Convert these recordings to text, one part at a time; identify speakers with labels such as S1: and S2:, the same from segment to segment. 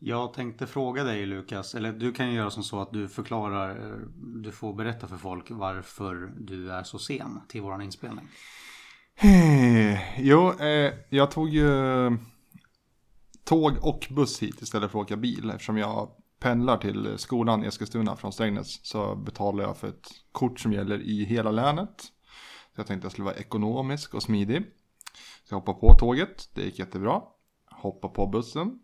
S1: Jag tänkte fråga dig Lukas, eller du kan ju göra som så att du förklarar, eh, du får berätta för folk varför du är så sen till våran inspelning.
S2: Jo, eh, jag tog ju eh, tåg och buss hit istället för att åka bil. Eftersom jag pendlar till skolan i Eskilstuna från Strängnäs så betalar jag för ett kort som gäller i hela länet. Så jag tänkte jag skulle vara ekonomisk och smidig. Så jag hoppade på tåget, det gick jättebra. Hoppade på bussen.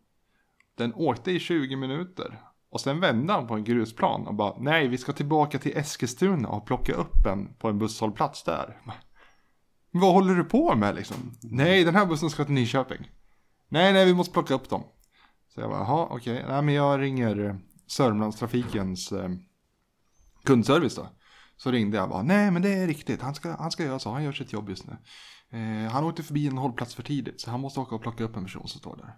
S2: Den åkte i 20 minuter. Och sen vände han på en grusplan och bara nej vi ska tillbaka till Eskilstuna och plocka upp en på en busshållplats där. Men Vad håller du på med liksom? Nej, den här bussen ska till Nyköping. Nej, nej, vi måste plocka upp dem. Så jag bara, jaha, okej. Nej, men jag ringer eh, Sörmlandstrafikens eh, kundservice då. Så ringde jag bara, nej men det är riktigt, han ska, han ska göra så, han gör sitt jobb just nu. Eh, han åkte förbi en hållplats för tidigt, så han måste åka och plocka upp en person som står där.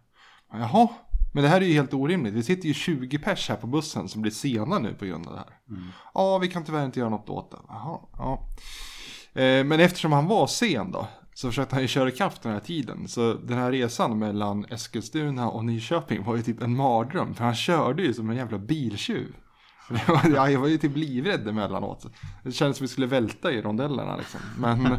S2: Men, jaha, men det här är ju helt orimligt, vi sitter ju 20 pers här på bussen som blir sena nu på grund av det här. Ja, vi kan tyvärr inte göra något åt det. Jaha, ja. Eh, Men eftersom han var sen då så försökte han ju köra ikapp den här tiden. Så den här resan mellan Eskilstuna och Nyköping var ju typ en mardröm. För han körde ju som en jävla biltjuv. Det var- ja, Jag var ju typ livrädd emellanåt. Det kändes som vi skulle välta i rondellerna liksom. Men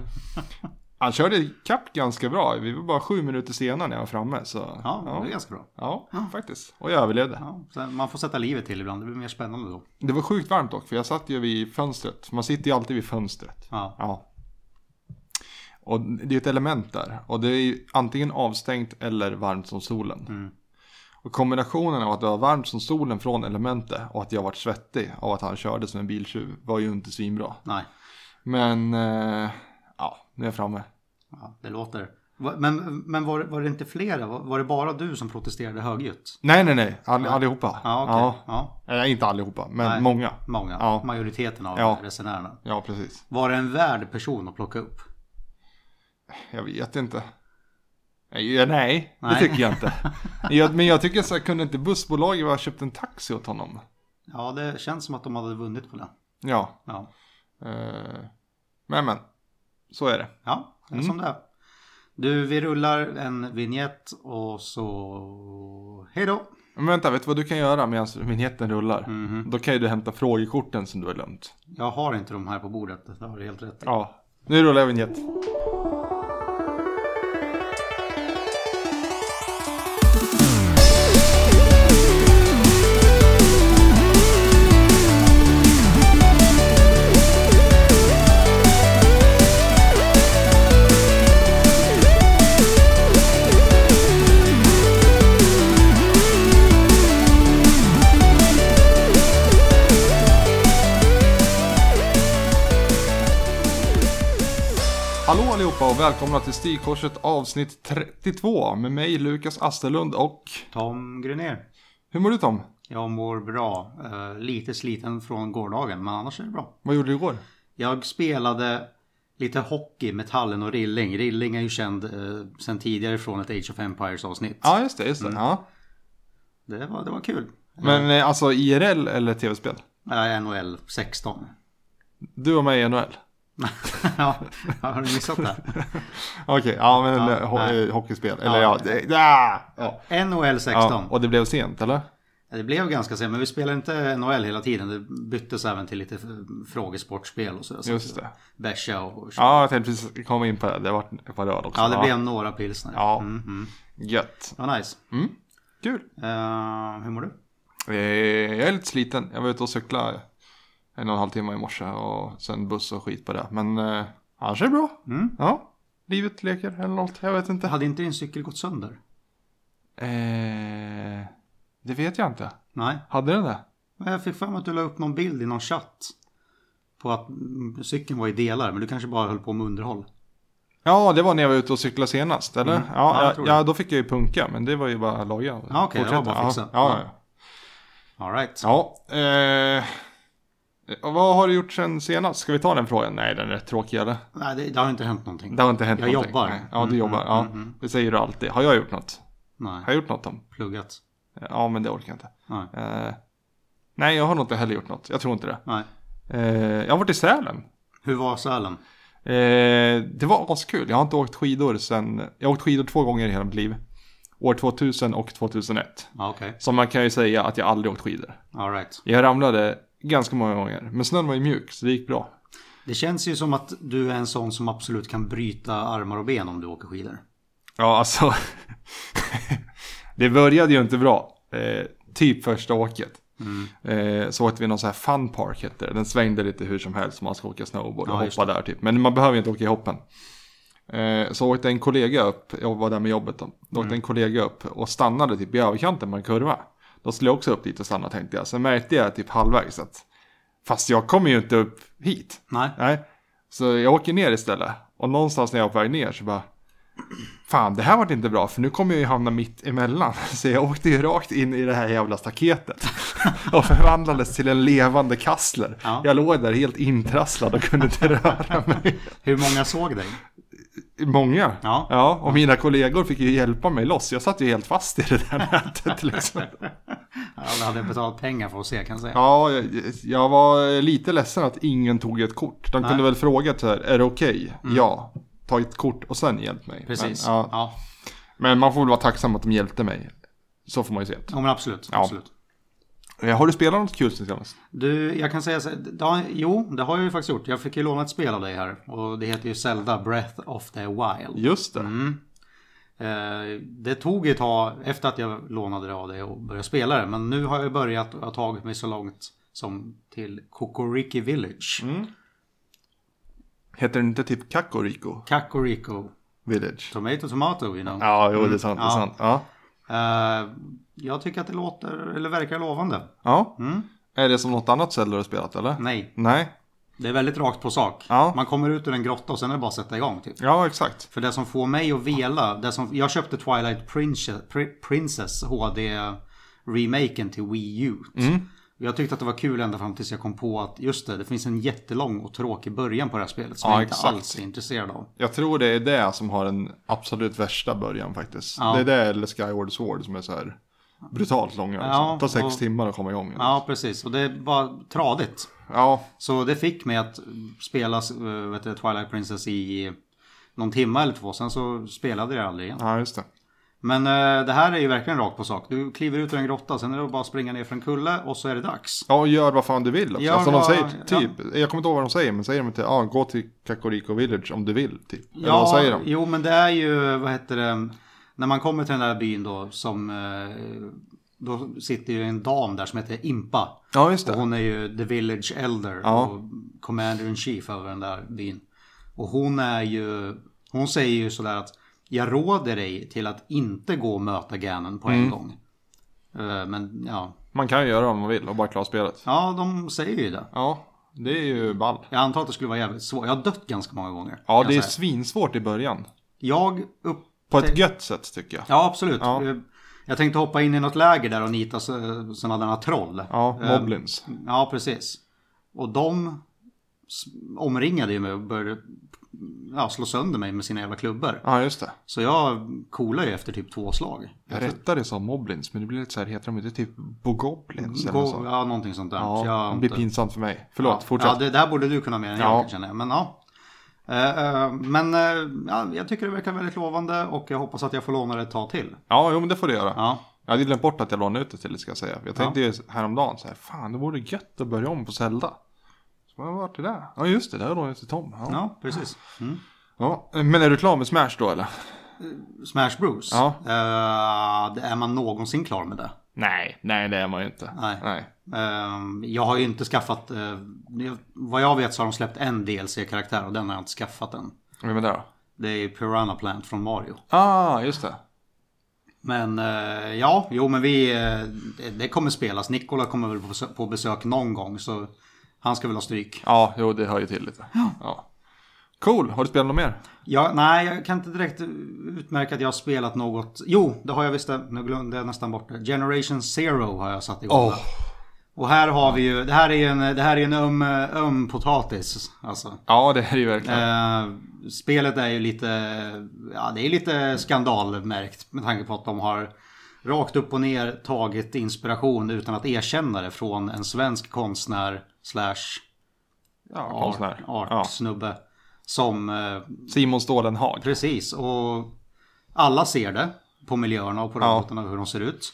S2: han körde ikapp ganska bra. Vi var bara sju minuter senare när jag var framme. Så
S1: Ja, det är
S2: ja,
S1: ganska bra.
S2: ja, faktiskt. Och jag överlevde.
S1: Ja, sen man får sätta livet till ibland, det blir mer spännande då.
S2: Det var sjukt varmt dock, för jag satt ju vid fönstret. Man sitter ju alltid vid fönstret.
S1: Ja.
S2: Och det är ett element där. Och det är ju antingen avstängt eller varmt som solen.
S1: Mm.
S2: Och kombinationen av att det var varmt som solen från elementet och att jag varit svettig av att han körde som en biltjuv var ju inte svinbra.
S1: Nej,
S2: Men, eh, ja, nu är jag framme.
S1: ja, det låter. Va- Men, men var, var det inte flera? Var, var det bara du som protesterade högljutt?
S2: Nej, nej, nej, all, allihopa.
S1: Ja, okej. Ja.
S2: ja. Eh, inte allihopa, men
S1: Nej.
S2: många.
S1: Många,
S2: Ja.
S1: majoriteten av
S2: Ja.
S1: resenärerna.
S2: Ja, precis.
S1: Var det en värd person att plocka upp?
S2: Jag vet inte. Nej, ja, nej, det
S1: Nej.
S2: tycker jag inte. Jag, men jag tycker så här, kunde inte bussbolaget ha köpt en taxi åt honom?
S1: Ja, det känns som att de hade vunnit på det.
S2: Ja,
S1: Ja,
S2: eh, men men. Så är det.
S1: ja det är
S2: Mm.
S1: som det är. Du, vi rullar en vignett och så... Hej då!
S2: Men vänta, vet du vad du kan göra medan vignetten rullar?
S1: Mhm.
S2: Då kan ju du hämta frågekorten som du har glömt.
S1: Jag har inte de här på bordet, det har du helt rätt i.
S2: Ja, nu rullar jag vignett. Hallå allihopa och välkomna till Stigkorset avsnitt 32 med mig Lukas Astelund och
S1: Tom Grunér,
S2: hur mår du Tom?
S1: jag mår bra. Eh, lite sliten från gårdagen, men annars är det bra.
S2: Vad gjorde du igår?
S1: Jag spelade lite hockey med Tallen och Rilling. Rilling är ju känd eh, sen tidigare från ett Age of Empires avsnitt.
S2: Ja, just det, just det. Ja.
S1: Det, var, det var kul.
S2: Men eh, alltså IRL eller tv-spel?
S1: Eh, NHL 16.
S2: Du var med i NHL?
S1: ja, har du missat det?
S2: Okej, ja men
S1: Ja,
S2: eller, ho-
S1: nej.
S2: eh, hockeyspel. Eller
S1: Ja.
S2: ja, det, ja, ja.
S1: NHL 16.
S2: ja. Och det blev sent eller?
S1: Det blev ganska sent, men vi spelade inte NHL hela tiden. Det byttes även till lite f- frågesportspel och så. så
S2: Just det.
S1: Besha och... Ja,
S2: Ja, jag tänkte precis komma in på det. Det vart ett par röd också.
S1: det blev några pilsner.
S2: Ja.
S1: Mm, mm.
S2: Gött.
S1: Det var nice.
S2: Mm. Kul.
S1: Eh, hur mår du?
S2: Eh, Jag är lite sliten. Jag var ute och cyklade en och en halv timme i morse och sen buss och skit på det. Men eh, annars är det bra.
S1: Mm.
S2: Ja, livet leker eller något. Jag vet inte.
S1: Hade inte din cykel gått sönder?
S2: Eh, det vet jag inte.
S1: Nej.
S2: Hade den det?
S1: Men jag fick fram att du la upp någon bild i någon chatt. På att mm, cykeln var i delar, men du kanske bara höll på med underhåll.
S2: Ja, det var när jag var ute och cyklade senast, eller?
S1: Mm. Ja,
S2: Ja,
S1: jag
S2: ja,
S1: tror det.
S2: ja, då fick jag ju punka, men det var ju bara loja.
S1: Ja, okej, det var bara att
S2: ja,
S1: fixa.
S2: Ja, ja.
S1: All right.
S2: ja. eh, och vad har du gjort sen senast? Ska vi ta den frågan? Nej, den är rätt tråkig, eller?
S1: Nej, det, det har inte hänt någonting.
S2: Det har inte hänt
S1: Jag
S2: någonting.
S1: jobbar. Mm-hmm,
S2: Nej. Ja, du jobbar. Ja, det säger du alltid. Har jag gjort något?
S1: Nej,
S2: Har jag gjort något om?
S1: pluggat.
S2: Ja, men det orkar jag inte.
S1: Nej.
S2: Eh, nej, jag har nog inte heller gjort något. Jag tror inte det.
S1: Nej.
S2: Eh, jag har varit i Sälen.
S1: Hur var Sälen?
S2: Eh, det var askul. Jag har inte åkt skidor sen... Jag har åkt skidor två gånger i hela mitt liv. år 2000 och 2001.
S1: Ja, okej.
S2: Så man kan ju säga att jag aldrig åkt skidor.
S1: All right.
S2: Jag ramlade ganska många gånger, men snön var ju mjuk så det gick bra.
S1: Det känns ju som att du är en sån som absolut kan bryta armar och ben om du åker skidor.
S2: Ja, alltså. det började ju inte bra. Eh, typ första åket.
S1: Mm.
S2: Eh, så åkte vi någon sån här fun park hette det. Den svängde lite hur som helst om man ska åka snowboard och
S1: Ja, just
S2: hoppa där typ. Men man behöver ju inte åka i hoppen. Eh, så åkte en kollega upp, jag var där med jobbet då. Då
S1: Mm.
S2: åkte en kollega upp och stannade typ i överkanten med en kurva. Då skulle jag också upp dit och stanna tänkte jag. Sen märkte jag typ halvvägs att fast jag kommer ju inte upp hit.
S1: Nej.
S2: Nej. Så jag åker ner istället. Och någonstans när jag är på väg ner så bara. Fan, det här vart inte bra för nu kommer jag ju hamna mitt emellan. Så jag åkte ju rakt in i det här jävla staketet. Och förvandlades till en levande kassler.
S1: Ja.
S2: Jag låg där helt intrasslad och kunde inte röra mig.
S1: Hur många såg dig?
S2: Många.
S1: Ja.
S2: och mina kollegor fick ju hjälpa mig loss. Jag satt ju helt fast i det där nätet liksom.
S1: Alla hade betalat pengar för att se kan jag säga.
S2: Ja, jag, jag var lite ledsen att ingen tog ett kort. De kunde väl fråga så här, är det okej? Ja. Ta ett kort och sen hjälp mig.
S1: Mm. Precis.
S2: Men, ja.
S1: ja.
S2: men man får väl vara tacksam att de hjälpte mig. Så får man ju se
S1: Ja, men absolut.
S2: Ja.
S1: absolut.
S2: det. Eh, Har du spelat något kul sen senast?
S1: Du, jag kan säga så det har, Jo, det har jag ju faktiskt gjort. Jag fick ju låna ett spel av dig här. Och det heter ju Zelda Breath of the Wild.
S2: Just det.
S1: Mm. Eh, det tog ett tag efter att jag lånade det av dig och började spela det. Men nu har jag börjat och jag har tagit mig så långt som till Kokoriki Village.
S2: Mm. Heter den inte typ Kakoriko
S1: Kakoriko.
S2: Village?
S1: Tomato, tomato, you know.
S2: Ja, jo, det är sant. Det är sant. Ja.
S1: Eh, jag tycker att det låter, eller verkar lovande.
S2: ja. Är det som något annat Zelda du har spelat eller?
S1: Mm. Nej,
S2: Nej.
S1: det är väldigt rakt på sak.
S2: Ja.
S1: Man kommer ut ur en grotta och sen är det bara att sätta igång typ.
S2: Ja, exakt.
S1: För det som får mig att vela, det som, jag köpte Twilight Princess, Pri- Princess HD-remaken till Wii U.
S2: Mm.
S1: Jag tyckte att det var kul ända fram tills jag kom på att just det, det finns en jättelång och tråkig början på det här spelet som
S2: Ja,
S1: jag inte
S2: exakt.
S1: alls är intresserad av.
S2: Jag tror det är det som har den absolut värsta början faktiskt.
S1: Ja.
S2: Det är det eller Skyward Sword som är så här brutalt långa.
S1: Ja,
S2: liksom. tar sex
S1: och-
S2: timmar att komma igång.
S1: Ja, precis. Och det var tradigt.
S2: Ja,
S1: Så det fick mig att spela eh, vet du, Twilight Princess i någon timme eller två, sen så spelade jag aldrig igen.
S2: ja just det.
S1: Men eh, det här är ju verkligen rakt på sak. Du kliver ut ur en grotta, sen är det bara att springa ner för en kulle och så är det dags.
S2: Ja, och gör vad fan du vill också.
S1: Gör
S2: alltså, de
S1: vad-
S2: säger typ, jag kommer inte ihåg vad de säger, men säger de inte, ja, gå till Kakoriko Village om du vill, typ. Eller vad säger de?
S1: Jo, men det är ju, vad heter det, när man kommer till den där byn då som, eh, då sitter ju en dam där som heter Impa.
S2: Ja, just
S1: Och
S2: det.
S1: hon är ju the village elder
S2: Ja.
S1: och commander in chief över den där byn. Och hon är ju, hon säger ju sådär att jag råder dig till att inte gå och möta Ganon på en
S2: Mm.
S1: gång. Eh, Men ja,
S2: Man kan ju göra vad man vill och bara klara spelet.
S1: ja de säger ju det.
S2: Ja, det är ju ball.
S1: Jag antar att det skulle vara jävligt svårt. Jag har dött ganska många gånger.
S2: Ja,
S1: kan
S2: det är
S1: jag säga.
S2: svinsvårt i början.
S1: Jag upp...
S2: På ett gött sätt tycker jag.
S1: Ja, absolut.
S2: Ja.
S1: Eh, Jag tänkte hoppa in i något läger där och nita så- sådana där troll.
S2: Ja,
S1: Eh,
S2: Moblins.
S1: Ja, precis. Och de s- omringade ju mig och började ja, slå sönder mig med sina jävla klubbor.
S2: Ja, just det.
S1: Så jag coolade ju efter typ två slag.
S2: Jag rättade sa Moblins, men det blir lite så här, heter de inte typ Bogoblins eller något
S1: Gå,
S2: sånt?
S1: ja, någonting sånt där. Så jag
S2: alltså. Ja,
S1: har
S2: det blir
S1: inte-
S2: pinsamt för mig. Förlåt, fortsätt.
S1: Ja, det, det här borde du kunna mer än
S2: Ja.
S1: jag känner jag. Men ja. Eh, eh, Men eh, ja, jag tycker det verkar väldigt lovande och jag hoppas att jag får låna det ett tag till.
S2: Ja, jo men det får du göra.
S1: Ja,
S2: Jag hade glömt bort att jag lånade ut det till det ska jag säga. Jag tänkte ju häromdagen så här, fan det vore gött att börja om på Zelda. Så bara, vart är det? där? Ja just det, det har jag lånat ut till Tom. Ja.
S1: ja precis. Mm.
S2: Ja. Men är du klar med Smash då eller?
S1: Smash Bros.
S2: Ja.
S1: Eh, det är man någonsin klar med det?
S2: Nej, nej det är man ju inte.
S1: Nej.
S2: nej.
S1: Eh, jag har ju inte skaffat... eh, jag- vad jag vet så har de släppt en DLC-karaktär och den har jag inte skaffat än.
S2: Vem är det då?
S1: Det är Piranha Plant från Mario.
S2: Ah, just det.
S1: Men eh, ja, jo men vi... eh, det- det kommer spelas. Nikola kommer väl på besö- på besök någon gång så han ska väl ha stryk.
S2: Ja, jo det hör ju till lite. Ja. Cool, har du spelat något mer?
S1: Ja, nej, jag kan inte direkt utmärka att jag har spelat något. Jo, det har jag visst det. Nu glömde jag nästan bort det. Generation Zero har jag satt igång med.
S2: Åh.
S1: Och här har vi ju, det här är ju en, det här är ju en öm, öm potatis. Alltså.
S2: Ja, det är det ju verkligen.
S1: Eh, spelet är ju lite, ja det är lite skandalmärkt med tanke på att de har rakt upp och ner tagit inspiration utan att erkänna det från en svensk konstnär slash
S2: ja,
S1: art,
S2: konstnär.
S1: art
S2: Ja.
S1: snubbe. Som eh,
S2: Simon Stålenhag.
S1: Precis, och alla ser det. på miljöerna och på
S2: Ja.
S1: robotarna och hur de ser ut.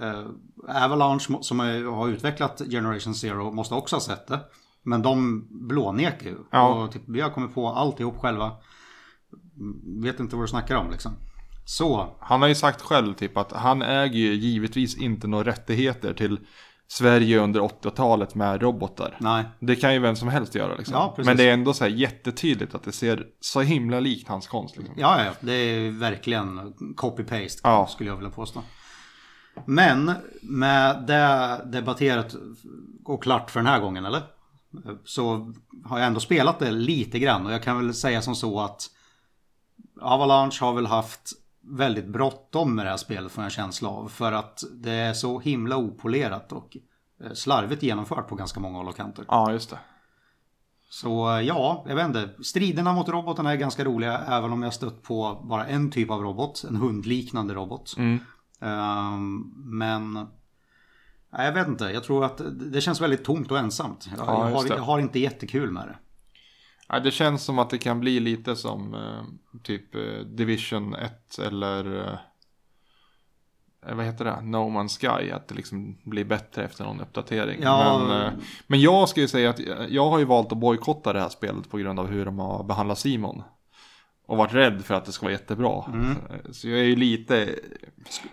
S1: Eh, Avalanche må- som är, har utvecklat Generation Zero måste också ha sett det. Men de blånekar ju.
S2: Ja.
S1: Och typ, vi har kommit på alltihop själva. Mm, Vet inte vad du snackar om liksom. Så,
S2: Han har ju sagt själv typ att han äger ju givetvis inte några rättigheter till Sverige under 80-talet med robotar.
S1: nej.
S2: Det kan ju vem som helst göra liksom.
S1: Ja, precis.
S2: Men det är ändå så här jättetydligt att det ser så himla likt hans konst. Liksom.
S1: Ja, ja, ja. det är verkligen copy-paste
S2: Ja.
S1: skulle jag vilja påstå. Men med det debatterat och klart för den här gången, eller? Så har jag ändå spelat det lite grann och jag kan väl säga som så att Avalanche har väl haft väldigt bråttom med det här spelet får jag en känsla av. För att det är så himla opolerat och eh, slarvigt genomfört på ganska många håll och kanter.
S2: Ja, just det.
S1: Så eh, ja, jag vet inte. Striderna mot robotarna är ganska roliga även om jag stött på bara en typ av robot. En hundliknande robot.
S2: Mm.
S1: Ehm, men nej, jag vet inte. Jag tror att det- det känns väldigt tomt och ensamt. Jag,
S2: Ja,
S1: jag,
S2: just
S1: har,
S2: det.
S1: jag har inte jättekul med det.
S2: Ja, det känns som att det kan bli lite som eh, typ eh, Division 1 eller eh, vad heter det? No Man's Sky. Att det liksom blir bättre efter någon uppdatering.
S1: Ja.
S2: Men, eh, men jag ska ju säga att jag- jag har ju valt att bojkotta det här spelet på grund av hur de har behandlat Simon. Och varit rädd för att det ska vara jättebra. Så jag är ju lite,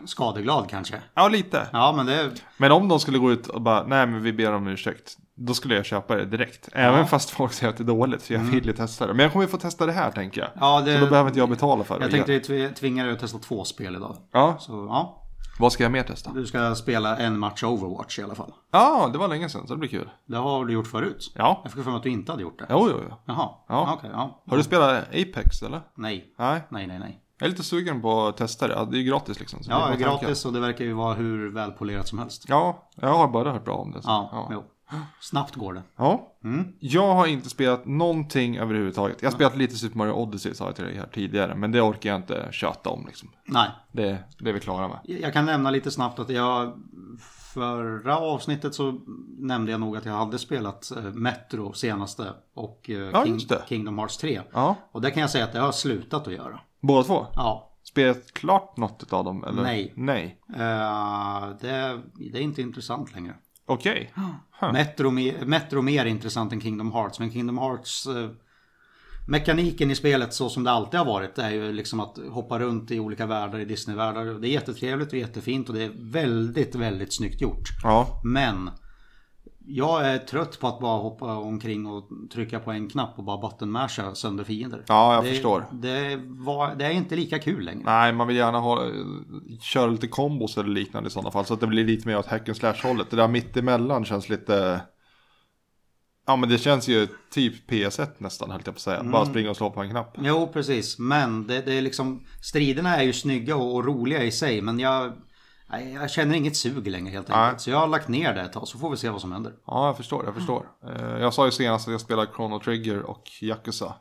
S1: Skadeglad kanske.
S2: ja lite.
S1: Ja, men det...
S2: Men om de skulle gå ut och bara, nej men vi ber om ursäkt. Då skulle jag köpa det direkt. Även fast folk säger att det är dåligt, för jag vill ju testa det. Men jag kommer ju få testa Mm. det här tänker jag.
S1: Ja, det-
S2: Så då behöver inte jag betala för det.
S1: Jag tänkte tv- tvinga dig att testa två spel idag.
S2: Ja,
S1: Så ja,
S2: vad ska jag mer testa?
S1: du ska spela en match Overwatch i alla fall.
S2: Ja, det var länge sedan så det blir kul.
S1: Det har du gjort förut.
S2: Ja,
S1: Jag fick för mig att du inte hade gjort det.
S2: jo, jo, jo.
S1: Jaha,
S2: Ja.
S1: ja. okej. ja.
S2: Har du spelat Apex eller?
S1: Nej,
S2: Nej,
S1: nej, nej, nej.
S2: jag är lite sugen på att testa det. Ja, Det är ju gratis liksom. så det
S1: Ja,
S2: är bara tankar.
S1: gratis och det verkar ju vara hur välpolerat som helst.
S2: Ja, jag har bara hört bra om det. så-
S1: Ja,
S2: ja.
S1: jo. Snabbt går det.
S2: Ja.
S1: Mm.
S2: Jag har inte spelat någonting överhuvudtaget. Jag har spelat lite Super Mario Odyssey sa jag till dig här tidigare. Men det orkar jag inte tjata om liksom.
S1: Nej,
S2: Det, det är vi klara med.
S1: jag kan nämna lite snabbt att jag förra avsnittet så nämnde jag nog att jag hade spelat eh, Metro senaste och eh,
S2: Ja, just det.
S1: Kingdom Hearts 3.
S2: Ja,
S1: Och det kan jag säga att det har jag slutat att göra.
S2: båda två.
S1: Ja,
S2: Spelat klart något av dem eller?
S1: Nej.
S2: Nej.
S1: eh, det, det är inte intressant längre.
S2: Okej.
S1: Metro, me- Metro är mer intressant än Kingdom Hearts. Men Kingdom Hearts... Eh, mekaniken i spelet så som det alltid har varit är ju liksom att hoppa runt i olika världar i Disney-världar. Det är jättetrevligt och jättefint och det är väldigt, väldigt snyggt gjort.
S2: Ja.
S1: Men jag är trött på att bara hoppa omkring och trycka på en knapp och bara buttonmasha sönder fiender.
S2: Ja, jag
S1: det,
S2: förstår.
S1: Det, var, det är inte lika kul längre.
S2: Nej, man vill gärna ha, köra lite kombos eller liknande i sådana fall. Så att det blir lite mer åt hack and slash hållet. Det där mittemellan känns lite... Ja men det känns ju typ PS1 nästan höll jag på att säga. Bara
S1: Mm.
S2: springa och slå på en knapp.
S1: Jo, precis. Men det, det är liksom, striderna är ju snygga och, och roliga i sig. Men jag, nej, jag känner inget sug längre helt enkelt.
S2: Nej.
S1: Så jag har lagt ner det ett tag. Så får vi se vad som händer.
S2: Ja, jag förstår, jag förstår. Eh, Jag sa ju senast att jag spelar Chrono Trigger och Yakuza.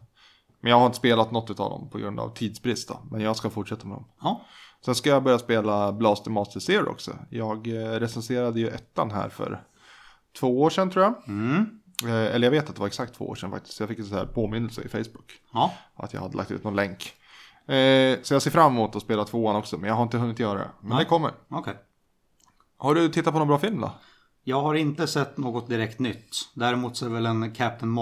S2: Men jag har inte spelat något av dem på grund av tidsbrist då. Men jag ska fortsätta med dem.
S1: Ja,
S2: Sen ska jag börja spela Blaster Master Zero också. Jag eh, recenserade ju ettan här för två år sedan tror jag.
S1: Mm.
S2: Eh, Eller jag vet att det var exakt två år sedan faktiskt. Jag fick en sån här påminnelse i Facebook.
S1: ja.
S2: Att jag hade lagt ut någon länk. Eh, Så jag ser fram emot att spela tvåan också. Men jag har inte hunnit göra det. Men det kommer.
S1: okej.
S2: Har du tittat på någon bra film då?
S1: Jag har inte sett något direkt nytt. Däremot så är väl en Captain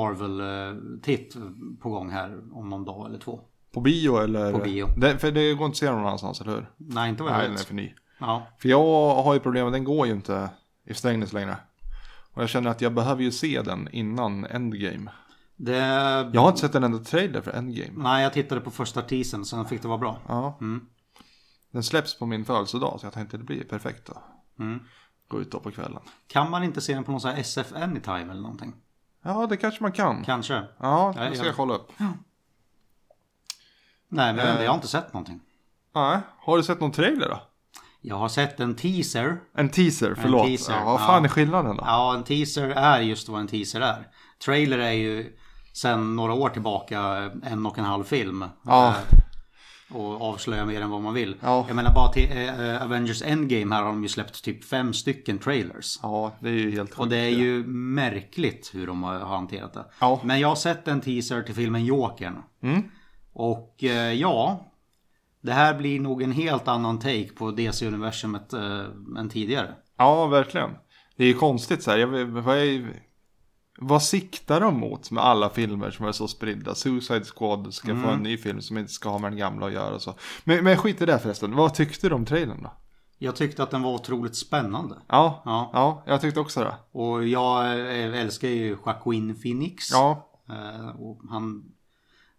S1: Marvel-titt på gång här om någon dag eller två.
S2: På bio eller?
S1: På bio.
S2: Det, för det går inte att se någon annanstans, eller hur?
S1: Nej, inte vad
S2: Nej,
S1: jag
S2: den är
S1: vet.
S2: för ny.
S1: Ja,
S2: För jag har ju problem med den går ju inte i Strängnäs längre. Och jag känner att jag behöver ju se den innan Endgame.
S1: det...
S2: Jag har inte sett en enda trailer för Endgame.
S1: Nej, jag tittade på första teasern sen fick det vara bra.
S2: Ja. Den släpps på min födelsedag så jag tänkte det blir perfekt då.
S1: Mm.
S2: Gå ut då på kvällen.
S1: Kan man inte se den på någon sån här SF Anytime eller någonting?
S2: Ja, det kanske man kan.
S1: Kanske.
S2: Ja,
S1: Ja,
S2: det ska
S1: ja.
S2: jag kolla upp.
S1: Nej, men jag vet inte, jag har inte sett någonting.
S2: Nej, har du sett någon trailer då?
S1: Jag har sett en teaser.
S2: En teaser, förlåt.
S1: teaser,
S2: ja, vad fan
S1: ja.
S2: är skillnaden då?
S1: Ja, en teaser är just vad en teaser är. Trailer är ju sen några år tillbaka en och en halv film.
S2: Ja.
S1: Eh, Och avslöja mer än vad man vill.
S2: Ja.
S1: Jag menar bara till eh, eh, Avengers Endgame här har de ju släppt typ fem stycken trailers.
S2: Ja, det är ju helt sjukt.
S1: Och det är ju märkligt hur de har har hanterat det.
S2: Ja. Mm.
S1: Men jag har sett en teaser till filmen Jokern. Och eh, ja, Det här blir nog en helt annan take på DC-universumet eh, än tidigare.
S2: Ja, verkligen. Det är ju konstigt så här. Jag, vet- vad, är, vad siktar de mot med alla filmer som är så spridda? Suicide Squad ska få en ny film som inte ska ha med den gamla att göra och så. Men, men skit i det förresten. Vad tyckte du om trailern då?
S1: Jag tyckte att den var otroligt spännande.
S2: Ja,
S1: Ja.
S2: ja jag tyckte också det.
S1: Och jag eh, älskar ju Joaquin Phoenix.
S2: Ja,
S1: Eh, och han,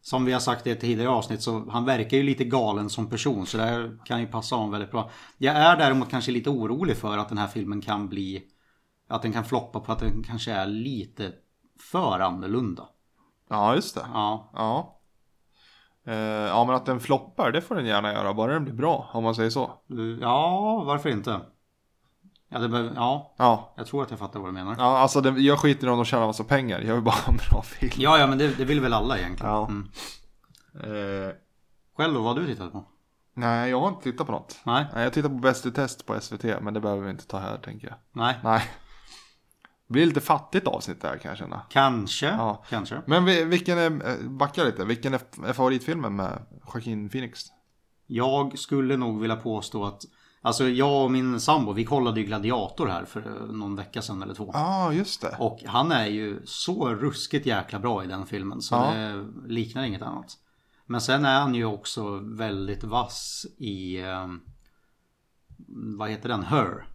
S1: som vi har sagt i ett tidigare avsnitt så han verkar ju lite galen som person så det här kan ju passa om väldigt bra. Jag är däremot kanske lite orolig för att den här filmen kan bli att den kan floppa på att den kanske är lite för annorlunda.
S2: ja just det.
S1: Ja,
S2: Ja. Eh, ja, men att den floppar, det får den gärna göra. Bara den blir bra, om man säger så.
S1: eh, ja varför inte? Ja, det behöver, ja,
S2: Ja,
S1: jag tror att jag fattar vad du menar.
S2: ja alltså det, jag skiter i om de tjänar massa pengar. Jag vill bara ha en bra film.
S1: Ja, ja, men det, det vill väl alla egentligen.
S2: Ja.
S1: Mm.
S2: Eh,
S1: Själv då, vad har du tittat på?
S2: nej, jag har inte tittat på något.
S1: Nej,
S2: Nej, jag tittar på Bäst i test på SVT, men det behöver vi inte ta här tänker jag.
S1: nej,
S2: Nej. Det blir lite fattigt avsnitt där kan jag känna.
S1: kanske,
S2: Ja.
S1: kanske.
S2: Men vi- vilken är, eh, backa lite, vilken är är favoritfilmen med Joaquin Phoenix?
S1: Jag skulle nog vilja påstå att Alltså jag och min sambo, vi kollade ju Gladiator här för eh, någon vecka sedan eller två.
S2: Ja, ah, just det.
S1: Och han är ju så ruskigt jäkla bra i den filmen så
S2: Ja.
S1: det liknar inget annat. Men sen är han ju också väldigt vass i eh, Vad heter den? Her.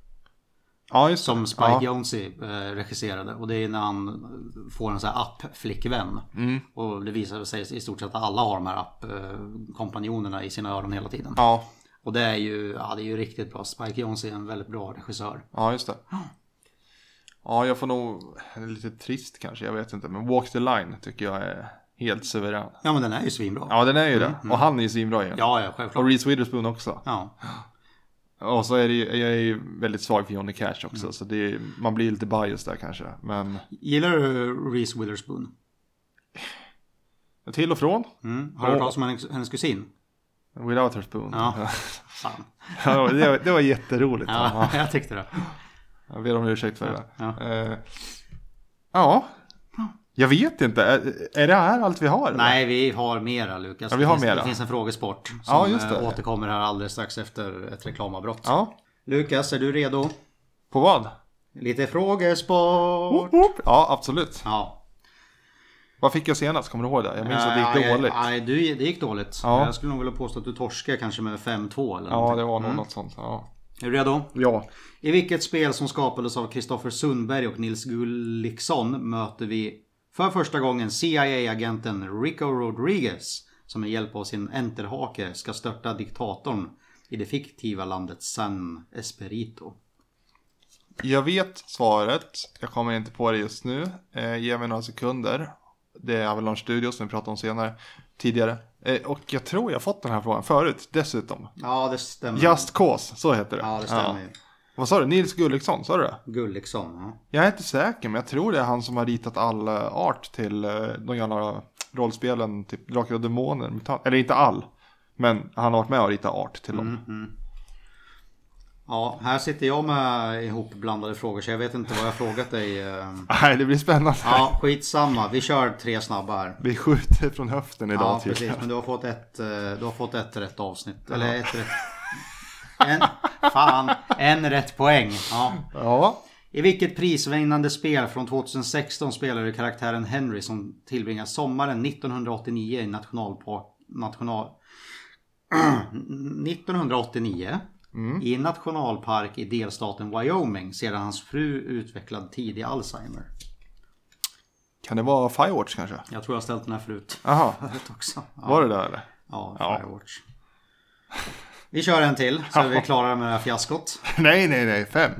S2: Ja, just det.
S1: Som Spike
S2: Ja.
S1: Jonze eh, regisserade. Och det är när han får en sån här app-flickvän.
S2: Mm.
S1: Och det visar sig i stort sett att alla har de här app-kompanjonerna i sina öron hela tiden.
S2: Ja,
S1: Och det är ju, ja, det är ju riktigt bra. Spike Jonze är en väldigt bra regissör.
S2: ja, just det. Ja, jag får nog, lite trist kanske, jag vet inte. Men Walk the Line tycker jag är helt suverän.
S1: Ja men den är ju svinbra. Ja,
S2: Ja, den är ju det. Och han är ju svinbra i den.
S1: Mm, ja,
S2: Och
S1: självklart.
S2: Reese Witherspoon också.
S1: Ja.
S2: Och så är det ju, jag är ju väldigt svag för Johnny Cash också.
S1: Mm.
S2: Så det är, man blir lite biased där kanske. Men
S1: Gillar du Reese Witherspoon?
S2: till och från.
S1: Mm. Har du hört talas om hennes, hennes kusin?
S2: Without her spoon.
S1: Mm. Ja. Fan.
S2: Ja, det, var, det var jätteroligt.
S1: Ja, jag tyckte det.
S2: Jag ber om ursäkt för det.
S1: Ja.
S2: Eh, ja. Jag vet inte. Är, är det här allt vi har? eller?
S1: Nej, vi har mera Lukas.
S2: Ja, vi har
S1: det, finns,
S2: mera.
S1: det finns en frågesport som
S2: Ja, just det.
S1: eh, återkommer här alldeles strax efter ett reklamavbrott.
S2: Ja.
S1: Lukas, är du redo?
S2: På vad?
S1: Lite frågesport!
S2: Ja, absolut.
S1: Ja,
S2: Vad fick jag senast? Kommer du ihåg det? Jag minns att det
S1: Nej,
S2: gick dåligt.
S1: Nej, du, det gick dåligt.
S2: Ja.
S1: Jag skulle nog vilja påstå att du torskade kanske med 5-2 eller
S2: Ja,
S1: någonting.
S2: det var nog något sånt. Ja.
S1: Är du redo?
S2: ja.
S1: I vilket spel som skapades av Kristoffer Sundberg och Nils Gulliksson möter vi för första gången CIA-agenten Rico Rodriguez som med hjälp av sin enterhake ska störta diktatorn i det fiktiva landet San Esperito.
S2: Jag vet svaret. Jag kommer inte på det just nu. Eh, ge mig några sekunder. Det är Avalanche Studios som vi pratade om senare. Tidigare. Eh, och jag tror jag fått den här frågan förut dessutom.
S1: Ja, det stämmer.
S2: Just Cause, så heter det.
S1: Mm. Ja, det stämmer ju.
S2: Vad sa du? Nils Gulliksson, sa du det?
S1: Gulliksson, ja.
S2: Jag är inte säker, men jag tror det är han som har ritat all eh, art till eh, de gamla rollspelen, typ Drakar och Demoner. Mutant- Eller inte all, men han har varit med och ritat art till dem.
S1: Mm. Ja, här sitter jag med ihopblandade frågor så jag vet inte vad jag frågat dig. eh.
S2: Nej, det blir spännande.
S1: Ja, skitsamma. Vi kör tre snabba här.
S2: Vi skjuter från höften idag typ.
S1: Ja,
S2: tydligen.
S1: precis. Men du har fått ett, eh, du har fått ett rätt avsnitt. Eller ett rätt... En, fan, en rätt poäng. Ja.
S2: Ja,
S1: I vilket prisvinnande spel från 2016 spelar du karaktären Henry som tillbringar sommaren 1989 i nationalpark... National... 1989 i en nationalpark i delstaten Wyoming sedan hans fru utvecklad tidig Alzheimer.
S2: kan det vara Firewatch kanske?
S1: Jag tror jag har ställt den här förut.
S2: Aha,
S1: Förut också. Ja.
S2: var det där eller?
S1: Ja,
S2: Ja.
S1: Firewatch. Vi kör en till så är vi klara med det här fiaskot.
S2: Nej, nej, nej, fem.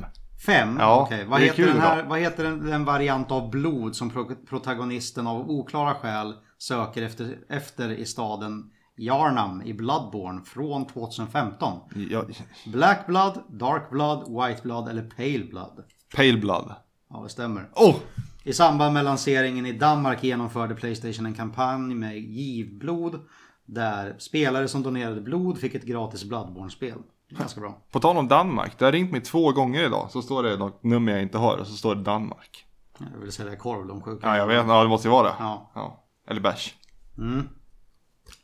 S1: Fem.
S2: Ja,
S1: Okej. Vad,
S2: det är
S1: heter
S2: kul
S1: den här, vad heter den, den variant av blod som pro- protagonisten av oklara skäl söker efter, efter i staden Yarnam i Bloodborne från 2015?
S2: Jag...
S1: Black Blood, Dark Blood, White Blood eller Pale Blood?
S2: Pale Blood.
S1: Ja, det stämmer.
S2: Oh!
S1: I samband med lanseringen i Danmark genomförde Playstation en kampanj med givblod där spelare som donerade blod fick ett gratis Bloodborne-spel. Ganska bra.
S2: På tal om Danmark, det har ringt mig två gånger idag. Så står det något nummer jag inte har och så står det Danmark.
S1: Jag vill sälja korv, de sjuka.
S2: Ja, jag vet. Ja, det måste ju vara det.
S1: Ja.
S2: Eller bärs.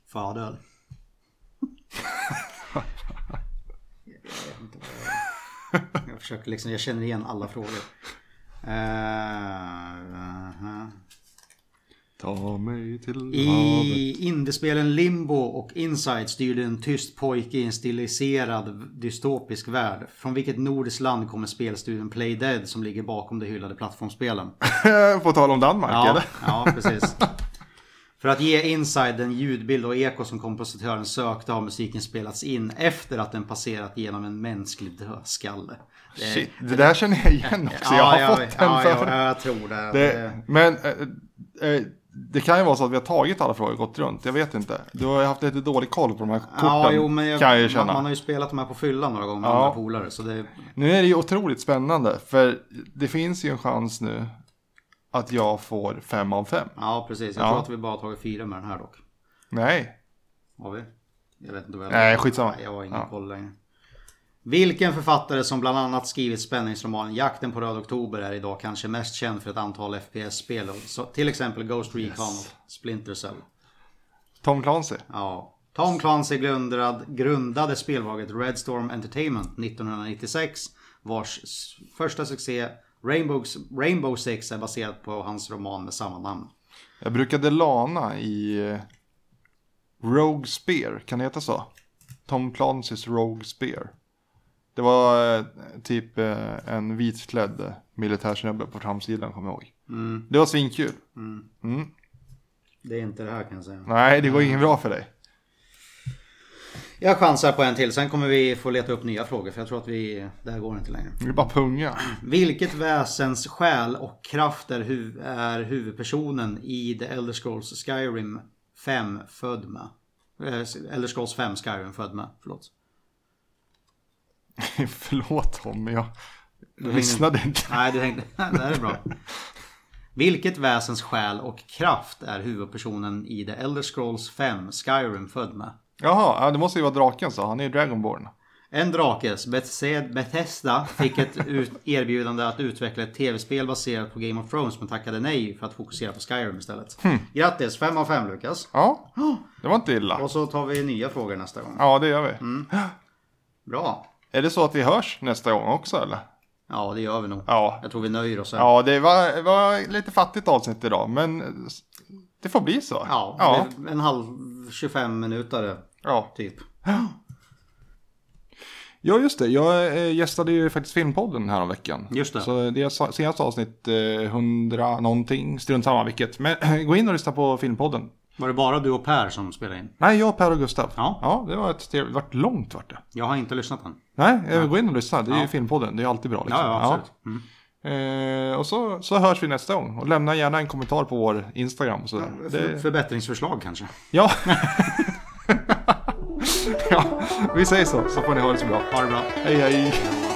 S1: Fadöl. Jag vet inte vad jag- Jag försöker liksom, jag känner igen alla frågor. Eh, aha.
S2: Ta mig till havet.
S1: I indiespelen Limbo och Inside styrde en tyst pojke i en stiliserad dystopisk värld. Från vilket nordiskt land kommer spelstudion Playdead som ligger bakom de hyllade plattformsspelen?
S2: På tal om Danmark
S1: Ja,
S2: eller?
S1: ja precis. För att ge Inside den ljudbild och eko som kompositören sökte har musiken spelats in efter att den passerat genom en mänsklig dödskalle. Det är-
S2: Shit, det där känner jag igen också. jag har fått den
S1: ja,
S2: förut.
S1: ja, jag tror det.
S2: Det,
S1: det...
S2: men eh, eh, det kan ju vara så att vi har tagit alla frågor och gått runt. Jag vet inte. Du har ju haft lite dålig koll på de här korten.
S1: Ja, jo, men jag,
S2: kan jag ju
S1: man,
S2: känna.
S1: man har ju spelat de här på fyllan några gånger med
S2: Ja.
S1: andra polare. Så det,
S2: Nu är det ju otroligt spännande. För det finns ju en chans nu att jag får fem av fem.
S1: ja, precis. Jag
S2: Ja.
S1: tror att vi bara har tagit fyra med den här dock.
S2: Nej.
S1: Har vi? Jag vet inte vad jag...
S2: Nej, skitsamma.
S1: Nej, Jag har ingen
S2: Ja.
S1: koll längre. Vilken författare som bland annat skrivit spänningsromanen Jakten på Röd Oktober är idag kanske mest känd för ett antal FPS-spel. Så, till exempel Ghost Recon och Splinter Cell.
S2: Tom Clancy.
S1: Ja. Tom Clancy grundad, grundade spelbolaget Red Storm Entertainment 1996. Vars s- första succé Rainbow, Rainbow Six är baserat på hans roman med samma namn.
S2: Jag brukade lana i eh, Rogue Spear. Kan det heta så? Tom Clancys Rogue Spear. Det var eh, typ eh, en vitklädd eh, militärsnubbe på framsidan kommer jag ihåg. Det var svinkul.
S1: Det är inte det här kan jag säga.
S2: Nej, det går ingen bra för dig.
S1: Jag chansar på en till, sen kommer vi få leta upp nya frågor för jag tror att vi, det här går inte längre.
S2: Det är bara punga.
S1: Vilket väsens själ och kraft är, huv- är huvudpersonen i The Elder Scrolls Skyrim 5 född med? Eh, Elder Scrolls 5 Skyrim född med, förlåt.
S2: Förlåt Tom, men jag lyssnade inte.
S1: Nej, du tänkte, det här är bra. Vilket väsens själ och kraft är huvudpersonen i The Elder Scrolls 5 Skyrim född med?
S2: Jaha, ja, det måste ju vara draken så. Han är ju Dragonborn.
S1: En drakes, Bethesda- Bethesda, fick ett ut- erbjudande att utveckla ett tv-spel baserat på Game of Thrones men tackade nej för att fokusera på Skyrim istället.
S2: Hmm.
S1: Grattis, 5 av 5 Lukas.
S2: Ja, det var inte illa.
S1: Och så tar vi nya frågor nästa gång.
S2: Ja, det gör vi.
S1: Bra.
S2: Är det så att vi hörs nästa gång också eller?
S1: Ja, det gör vi nog.
S2: Ja,
S1: Jag tror vi nöjer oss här.
S2: Ja, det var, var lite fattigt avsnitt idag, men det får bli så.
S1: Ja,
S2: ja,
S1: det- en halv 25 minuter
S2: ja.
S1: typ.
S2: ja just det. Jag eh, gästade ju faktiskt Filmpodden här om veckan.
S1: Just det.
S2: Så det är sa- senaste avsnitt, eh, 100 någonting, strunt samma vilket. Men gå in och lyssna på Filmpodden.
S1: Var det bara du och Per som spelade in?
S2: Nej, jag, Per och Gustav.
S1: Ja.
S2: det var ett trevligt, vart långt vart det.
S1: Jag har inte lyssnat än.
S2: Nej, eh, gå in och lyssna. Det är ju Filmpodden, det är alltid bra. Liksom.
S1: Ja, ja absolut. Mm.
S2: Eh, och så, så hörs vi nästa gång. Och lämna gärna en kommentar på vår Instagram. Och så där.
S1: För-
S2: Det,
S1: Förbättringsförslag kanske.
S2: ja. ja, vi säger så, så får ni ha det så bra.
S1: Ha det bra.
S2: Hej hej!